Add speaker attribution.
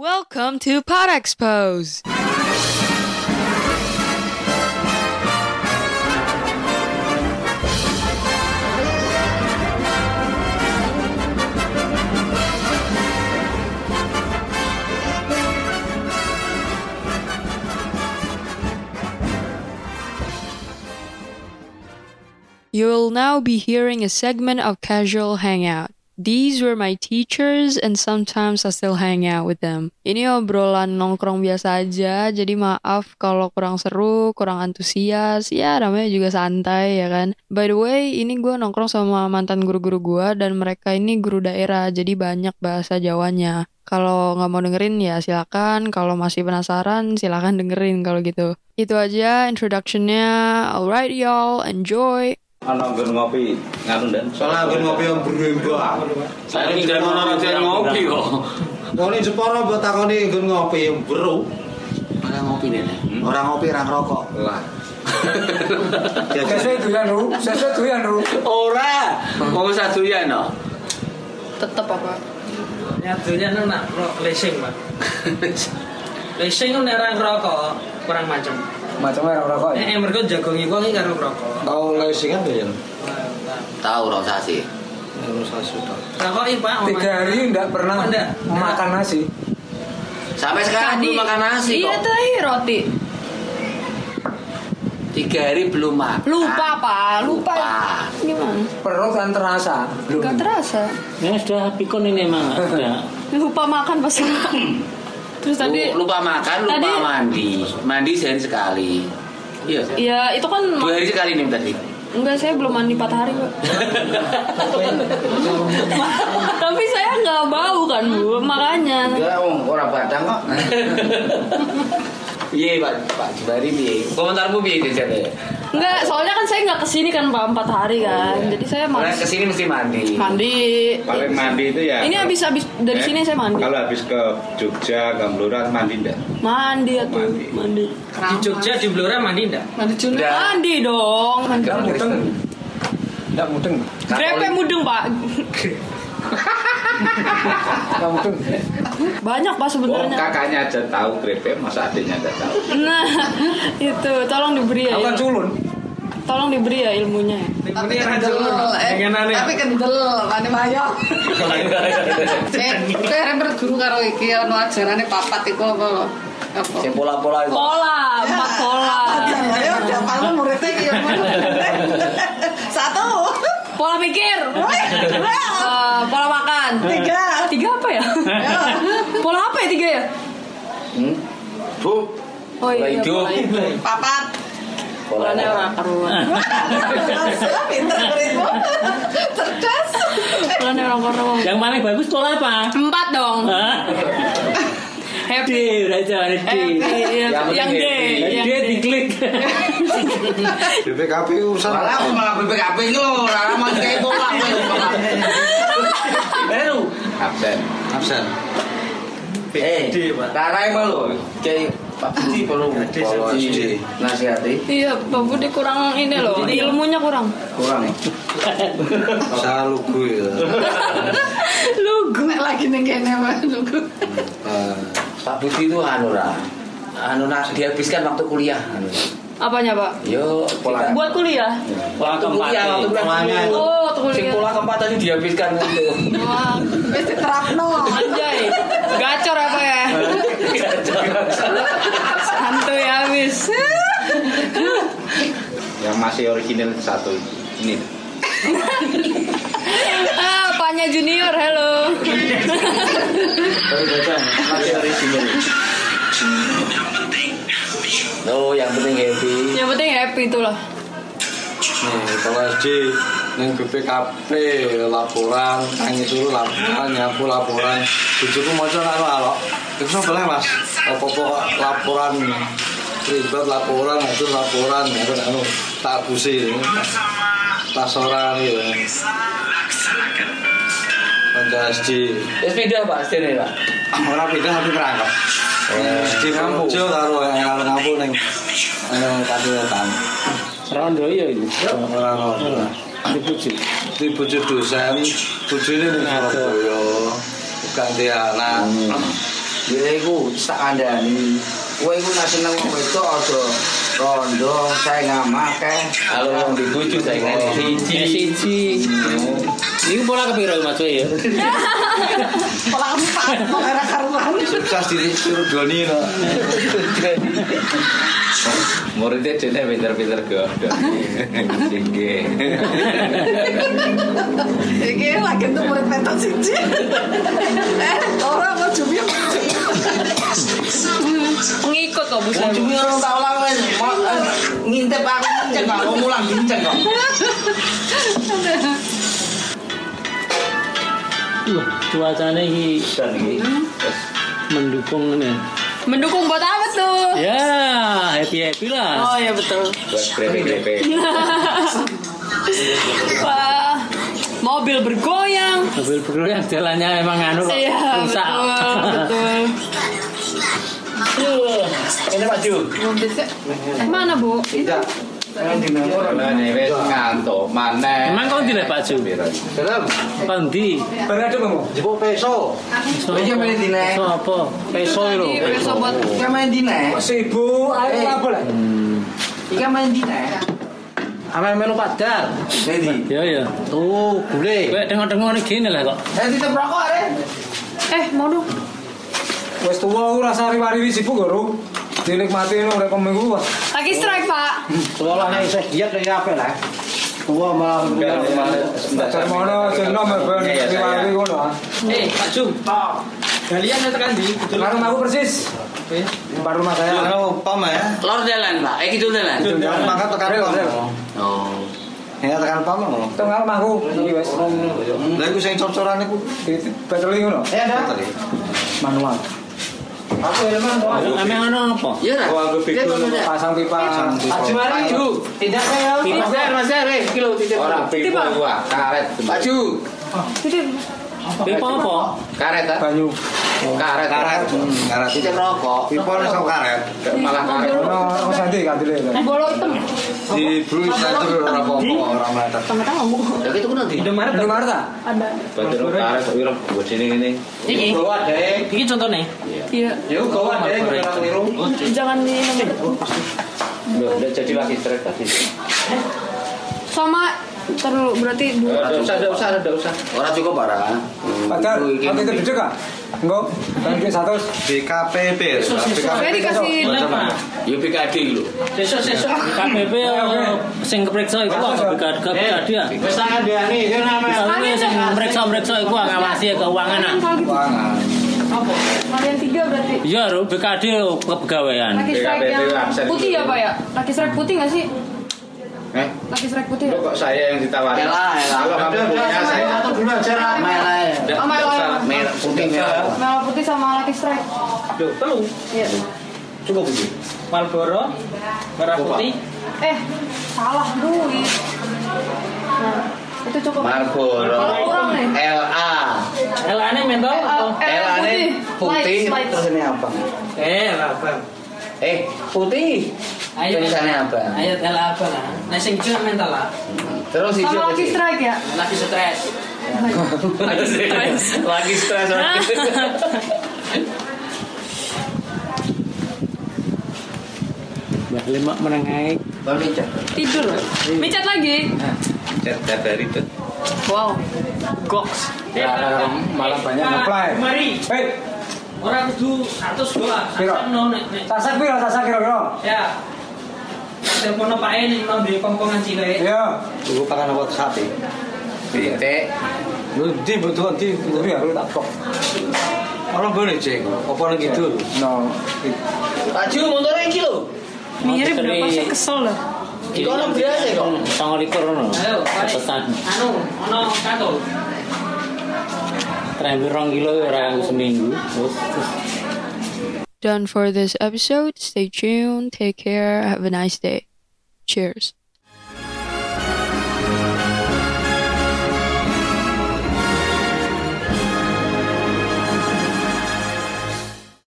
Speaker 1: Welcome to Pod Expos. You will now be hearing a segment of Casual Hangout. These were my teachers and sometimes I still hang out with them. Ini obrolan nongkrong biasa aja, jadi maaf kalau kurang seru, kurang antusias, ya ramai juga santai ya kan. By the way, ini gue nongkrong sama mantan guru-guru gue dan mereka ini guru daerah, jadi banyak bahasa Jawanya. Kalau nggak mau dengerin ya silakan, kalau masih penasaran silakan dengerin kalau gitu. Itu aja introductionnya, alright y'all, enjoy!
Speaker 2: ana nggon ngopi nganu dan
Speaker 3: Soalnya aku ngopi yang berdua
Speaker 2: saya ini jangan ana raja ngopi kok
Speaker 3: Kalau Jepara buat aku nih aku ngopi yang beru
Speaker 4: Orang ngopi deh.
Speaker 2: Hmm.
Speaker 4: Orang ngopi, orang rokok.
Speaker 3: Lah
Speaker 5: Sesuai doyan ru, sesuai doyan ru.
Speaker 2: ora mau saduyan no
Speaker 1: Tetap apa?
Speaker 6: Nyadunya ini nak ro- leasing pak Leasing ini orang rokok Kurang macam
Speaker 5: Macamnya orang rokok.
Speaker 6: Eh, eh mereka jago ngikut ini karo rokok
Speaker 3: Kau lesingan gak ya?
Speaker 6: Wah, wah.
Speaker 4: Tahu rasa sih.
Speaker 6: Rokok ini pak omahan.
Speaker 5: Tiga hari nggak pernah
Speaker 6: Nggak.
Speaker 5: makan nasi.
Speaker 4: Sampai sekarang belum makan nasi
Speaker 1: Iya
Speaker 4: kok.
Speaker 1: tadi roti.
Speaker 4: Tiga hari belum makan.
Speaker 1: Lupa pak, lupa.
Speaker 4: Lupa.
Speaker 1: Gimana?
Speaker 5: Perut kan terasa. Belum.
Speaker 1: Gak terasa.
Speaker 7: Ya sudah pikun ini emang sudah.
Speaker 1: Lupa makan pas makan. Terus tadi
Speaker 4: Lu- lupa makan, lupa
Speaker 1: tadi-
Speaker 4: mandi. Mandi sehari sekali. Iya.
Speaker 1: ya itu kan
Speaker 4: Dua hari sekali nih tadi.
Speaker 1: enggak saya belum mandi matahari pak. Tapi saya nggak bau kan bu, makanya.
Speaker 4: Ya wong ora badang kok. Iya Pak Pak Jubari piye? Komentarmu piye Jajan? ya?
Speaker 1: Enggak, soalnya kan saya nggak kesini kan pak empat hari kan, jadi saya
Speaker 4: Orang
Speaker 1: mandi.
Speaker 4: kesini mesti mandi.
Speaker 1: Mandi.
Speaker 2: Iya. paling mandi itu ya
Speaker 1: Ini habis habis dari
Speaker 2: Eh,
Speaker 1: sini saya mandi.
Speaker 2: kalau habis ke Jogja ke Blora mandi ndak
Speaker 1: Mandi atau mandi.
Speaker 6: Di Jogja di Blora mandi ndak?
Speaker 1: Mandi Juni.
Speaker 4: Udah.
Speaker 1: Mandi dong. Mandi.
Speaker 5: Nggak mudeng. Nggak mudeng.
Speaker 1: Grepe mudeng pak.
Speaker 5: Nggak mudeng.
Speaker 1: Banyak pak
Speaker 2: Oh,
Speaker 1: sebenarnya.
Speaker 2: kakaknya aja tahu grepe, masa adiknya nggak tahu.
Speaker 1: Nah, itu tolong diberi ya.
Speaker 5: Aku kan
Speaker 1: il-
Speaker 5: culun.
Speaker 1: Tolong diberi ya ilmunya. ya.
Speaker 6: Tapi kendel Pengen aneh
Speaker 8: kan eh, tapi kendel ane mayo eh kowe arep guru karo iki ana ajarane papat iku apa lho? apa
Speaker 4: Sing pola-pola itu.
Speaker 1: Pola, empat pola.
Speaker 8: ayo udah paling muridnya iki yang mana? satu
Speaker 1: Pola pikir.
Speaker 8: dua
Speaker 1: Eh, pola makan.
Speaker 8: tiga
Speaker 1: Tiga apa ya? pola apa ya tiga ya?
Speaker 4: Hmm? Bu,
Speaker 1: Oh
Speaker 4: Pola
Speaker 1: iya,
Speaker 4: hidup.
Speaker 1: pola hidup.
Speaker 8: papat
Speaker 4: pola
Speaker 1: Polanya orang karuan.
Speaker 8: pinter muridmu cerdas
Speaker 1: Polanya orang
Speaker 6: Oh.
Speaker 1: karuan.
Speaker 7: Yang paling bagus sekolah apa?
Speaker 1: Empat dong.
Speaker 7: Hah? D,
Speaker 1: Hmm. Happy.
Speaker 7: raja ada D.
Speaker 1: Happy. Yang,
Speaker 4: penting
Speaker 1: D.
Speaker 4: happy.
Speaker 1: Yang
Speaker 7: D
Speaker 1: D.
Speaker 7: diklik.
Speaker 3: BPKP urusan
Speaker 4: Malah aku malah BPKP itu loh, Rara mau kayak bola. Baru
Speaker 2: Absen.
Speaker 4: absen. Eh, Rara yang malu, kayak Pak Budi perlu perlu di- nasihati
Speaker 1: Iya, Pak Budi kurang ini loh, ilmunya kurang.
Speaker 4: kurang ya.
Speaker 3: Salah lugu ya
Speaker 1: Lugu.
Speaker 8: nek lagi ning kene Mas.
Speaker 4: Eh, Pak Budi itu anu Rara, anu nah, dihabiskan waktu kuliah. Anu.
Speaker 1: Apanya, Pak?
Speaker 4: Yo, pola.
Speaker 1: Buat kuliah?
Speaker 7: Pola
Speaker 4: Waktu kuliah,
Speaker 7: keempat.
Speaker 4: Iya, waktu kuliah dulu.
Speaker 1: Oh, waktu kuliah.
Speaker 4: Sing pola keempat tadi dihabiskan untuk
Speaker 1: Wah,
Speaker 8: wis diterapno
Speaker 1: anjay. Gacor apa ya? Santuy habis.
Speaker 2: Yang masih original satu ini.
Speaker 1: Ah, Panya Junior, halo.
Speaker 2: Masih original.
Speaker 4: Oh, yang penting happy.
Speaker 1: Yang penting happy itulah.
Speaker 3: Nih kalau SD Neng BPKP laporan Nangis dulu laporan Nyapu laporan Bujuku moco karo alok Itu sebelah mas Apa-apa laporan Ribet laporan Itu laporan Itu anu Tak busi Tasoran gitu Panca SD
Speaker 4: Terus pindah Pak, sini Pak.
Speaker 3: Orang pindah tapi kerangkep. SD kampung. Jo karo yang kampung neng eh, neng kabupaten.
Speaker 7: Rondo ya itu.
Speaker 3: Orang orang.
Speaker 7: Dipuji.
Speaker 3: Di bujuk dosen, bujune ning Surabaya. Bukan dia anak.
Speaker 4: Ya iku tak kandhani. Kowe iku naseneng wong wedok aja rondo saya ngamakeh.
Speaker 2: Kalau yang dituju saya kan
Speaker 7: Ya siji. Ini pola kepiro Mas Wei ya?
Speaker 8: Pola empat, pola karuan.
Speaker 3: Sukses diri suruh Doni no.
Speaker 2: Muridnya jenis pinter-pinter godok. Singgih.
Speaker 8: Iki lagi tuh murid petok siji. Eh, orang mau jumio.
Speaker 1: Ngikut kok
Speaker 4: Wong
Speaker 1: busan.
Speaker 4: jumi orang tau lah wes. Mo- eh, Ngintip aku cek kok mau mulang bincang kok.
Speaker 7: Loh, cuacanya ini
Speaker 2: Dan ini terus
Speaker 7: mendukung ini.
Speaker 1: Mendukung buat apa tuh?
Speaker 7: Ya, happy-happy lah.
Speaker 1: Oh ya betul.
Speaker 2: buat grepe-grepe.
Speaker 1: Wah, mobil bergoyang.
Speaker 7: Mobil perlu yang jalannya emang anu kok.
Speaker 1: Iya,
Speaker 7: rusak.
Speaker 1: betul, betul.
Speaker 7: Ini maju.
Speaker 8: Ngombe sik.
Speaker 1: Eh, mana bu?
Speaker 2: Nah, ini wes ngantuk maneh.
Speaker 7: Emang kau tidak Pak Ju?
Speaker 3: Dalam.
Speaker 7: Pandi.
Speaker 5: Berada kamu.
Speaker 3: Jepuk peso.
Speaker 4: Iya, main dine.
Speaker 7: Peso apa? Peso lho.
Speaker 1: Tadi besok buat
Speaker 4: Iki main dine.
Speaker 5: Seibu
Speaker 3: Eh,
Speaker 5: air labu lah.
Speaker 4: Iki main dine.
Speaker 3: Ame melu padar.
Speaker 4: Ready.
Speaker 7: Ya ya.
Speaker 3: Tuh, gule.
Speaker 7: Gue dengar-dengar gini lah kok.
Speaker 4: Eh titip rokok are.
Speaker 1: Eh, mau dong.
Speaker 5: Wes tua ora sari-wari sibuk guru. Dinikmati ini urip minggu.
Speaker 1: Lagi strike pak.
Speaker 3: Seolah nek isih diet kaya apa lah. Tua malah
Speaker 5: Termono jenno meben sari-wari ngono. ah.
Speaker 6: Iya, Eh, Pak Jum.
Speaker 1: Oh.
Speaker 6: Kalian yang tekan di betul.
Speaker 5: Bareng aku persis.
Speaker 6: Eh,
Speaker 5: Depan rumah saya.
Speaker 3: Anu pom ya.
Speaker 4: Lor dalan, Pak. Eh kidul dalan.
Speaker 3: Jangan makan tekan pom.
Speaker 4: Oh.
Speaker 3: Ya tekan pom ngono.
Speaker 5: Tengah rumah aku. Iki Iya, wes.
Speaker 3: Lah iku sing cor-coran iku.
Speaker 5: Bateli ngono.
Speaker 4: Eh ada.
Speaker 5: Manual.
Speaker 4: Aku elemen kok.
Speaker 7: Emang ono apa?
Speaker 4: Iya dah.
Speaker 5: Wah, aku pikir pasang pipa.
Speaker 4: Pak Jumari, Ju. Tidak saya. Tidak saya, Mas Arif. eh, Kilo tidak.
Speaker 2: Orang pipa gua karet.
Speaker 4: Pak Ju.
Speaker 7: Pipa apa?
Speaker 2: Karet ah.
Speaker 5: Banyu.
Speaker 2: Karet.
Speaker 3: Karet. Hmm, Karet.
Speaker 4: Tidak rokok.
Speaker 3: Pipon iso karet.
Speaker 2: Malah karet.
Speaker 5: Ono ono santai kandile.
Speaker 1: Bolok hitam.
Speaker 3: Di bulu center ora apa-apa, ora meletak.
Speaker 4: Ya itu kan nanti.
Speaker 6: Ide Maret.
Speaker 5: Ini Marta.
Speaker 1: Ada.
Speaker 2: Banjur karet kok ireng gua sini ini.
Speaker 6: Iki,
Speaker 3: Bawa deh.
Speaker 6: iki contohnya.
Speaker 1: Iya.
Speaker 3: Ya gawa deh, ora keliru.
Speaker 1: Jangan minum.
Speaker 2: Loh, ndak jadi lagi stres tadi.
Speaker 1: Sama terlalu berarti dua.
Speaker 2: Enggak usah, enggak usah, enggak usah.
Speaker 4: Orang cukup Hmm, parah.
Speaker 5: Padahal nanti terbedak kah? Enggak. Banyu satu.
Speaker 3: BKPB.
Speaker 1: Saya dikasih
Speaker 6: Kenapa?
Speaker 2: Yo PKD lho.
Speaker 6: Sesok sesok.
Speaker 7: KPP
Speaker 5: oke.
Speaker 7: sing keperiksa iku kok BKD
Speaker 6: Eh,
Speaker 7: BKD ya.
Speaker 3: Wis tak ngandani, iki namanya
Speaker 7: Tapi
Speaker 1: Angin,
Speaker 7: sing
Speaker 1: Pak.
Speaker 7: meriksa-meriksa iku ngawasi keuangan ah.
Speaker 1: kalau gitu.
Speaker 3: keuangan.
Speaker 1: Kalian tiga berarti.
Speaker 7: Iya, Ru, BKD lo kepegawaian.
Speaker 1: Laki strike
Speaker 2: BKB,
Speaker 1: yang
Speaker 2: absen
Speaker 1: putih ya
Speaker 2: dulu.
Speaker 1: pak ya? Laki strike putih nggak sih?
Speaker 2: Eh,
Speaker 1: Laki strike putih ya?
Speaker 2: lo kok saya yang ditawarin?
Speaker 4: Elah, elah.
Speaker 2: Kalau kamu punya saya
Speaker 3: satu dulu aja lah.
Speaker 4: Main aja.
Speaker 2: Nggak,
Speaker 1: Oh,
Speaker 2: nggak
Speaker 1: merah.
Speaker 2: usah. merah putih merah.
Speaker 1: Merah putih sama laki strike.
Speaker 6: Duh, telu.
Speaker 1: Iya.
Speaker 3: Cukup iki.
Speaker 6: Marlboro, merah putih.
Speaker 1: Eh, salah duit. Nah, itu cukup.
Speaker 2: Marlboro.
Speaker 1: Kalau kurang nih.
Speaker 4: LA.
Speaker 6: Elane mentol. atau-
Speaker 1: Eh,
Speaker 4: LA ini putih.
Speaker 1: Lights, lights.
Speaker 4: Terus ini apa?
Speaker 6: Eh, apa?
Speaker 4: Eh, putih.
Speaker 6: Ayo.
Speaker 4: Tulisannya apa?
Speaker 6: Ayo tel apa lah. Nah, ah. sing ijo mental lah.
Speaker 4: Terus hijau
Speaker 1: Sama laki
Speaker 4: putih.
Speaker 1: strike ya?
Speaker 6: Lagi stres.
Speaker 4: Lagi stres. Lagi stres. lagi stres.
Speaker 7: Mbah lima menengahi.
Speaker 4: Bang Richard.
Speaker 1: Tidur.
Speaker 7: Iya.
Speaker 1: Micat lagi.
Speaker 2: Cet, cet dari itu.
Speaker 1: Wow.
Speaker 7: Goks.
Speaker 6: Ya,
Speaker 7: eh,
Speaker 5: malah banyak ngeplay.
Speaker 6: Mari.
Speaker 5: Hei,
Speaker 6: Orang kudu 100 doa.
Speaker 5: Piro? sasak piro sasak kira-kira.
Speaker 6: Ya. Telepon Pak E ning nang di kompongan cilik.
Speaker 5: Iya.
Speaker 3: Cukup pakan apa sate.
Speaker 2: Titik.
Speaker 3: Lu di butuh di.
Speaker 5: Tapi aku tak kok.
Speaker 3: Ora boleh cek. Apa nang kidul?
Speaker 5: No.
Speaker 4: Pak Ju, motornya iki lho.
Speaker 7: Mirip
Speaker 1: Mirip
Speaker 7: berapa
Speaker 1: berapa
Speaker 7: sih?
Speaker 1: sih kesel lah.
Speaker 4: Iki ono beras ya kok.
Speaker 7: Sangat likur no.
Speaker 6: Ayo, Pak.
Speaker 7: Pesan.
Speaker 6: Anu, ono kato.
Speaker 7: Terakhir rong kilo ya orang seminggu. Terus
Speaker 1: Done for this episode. Stay tuned. Take care. Have a nice day. Cheers.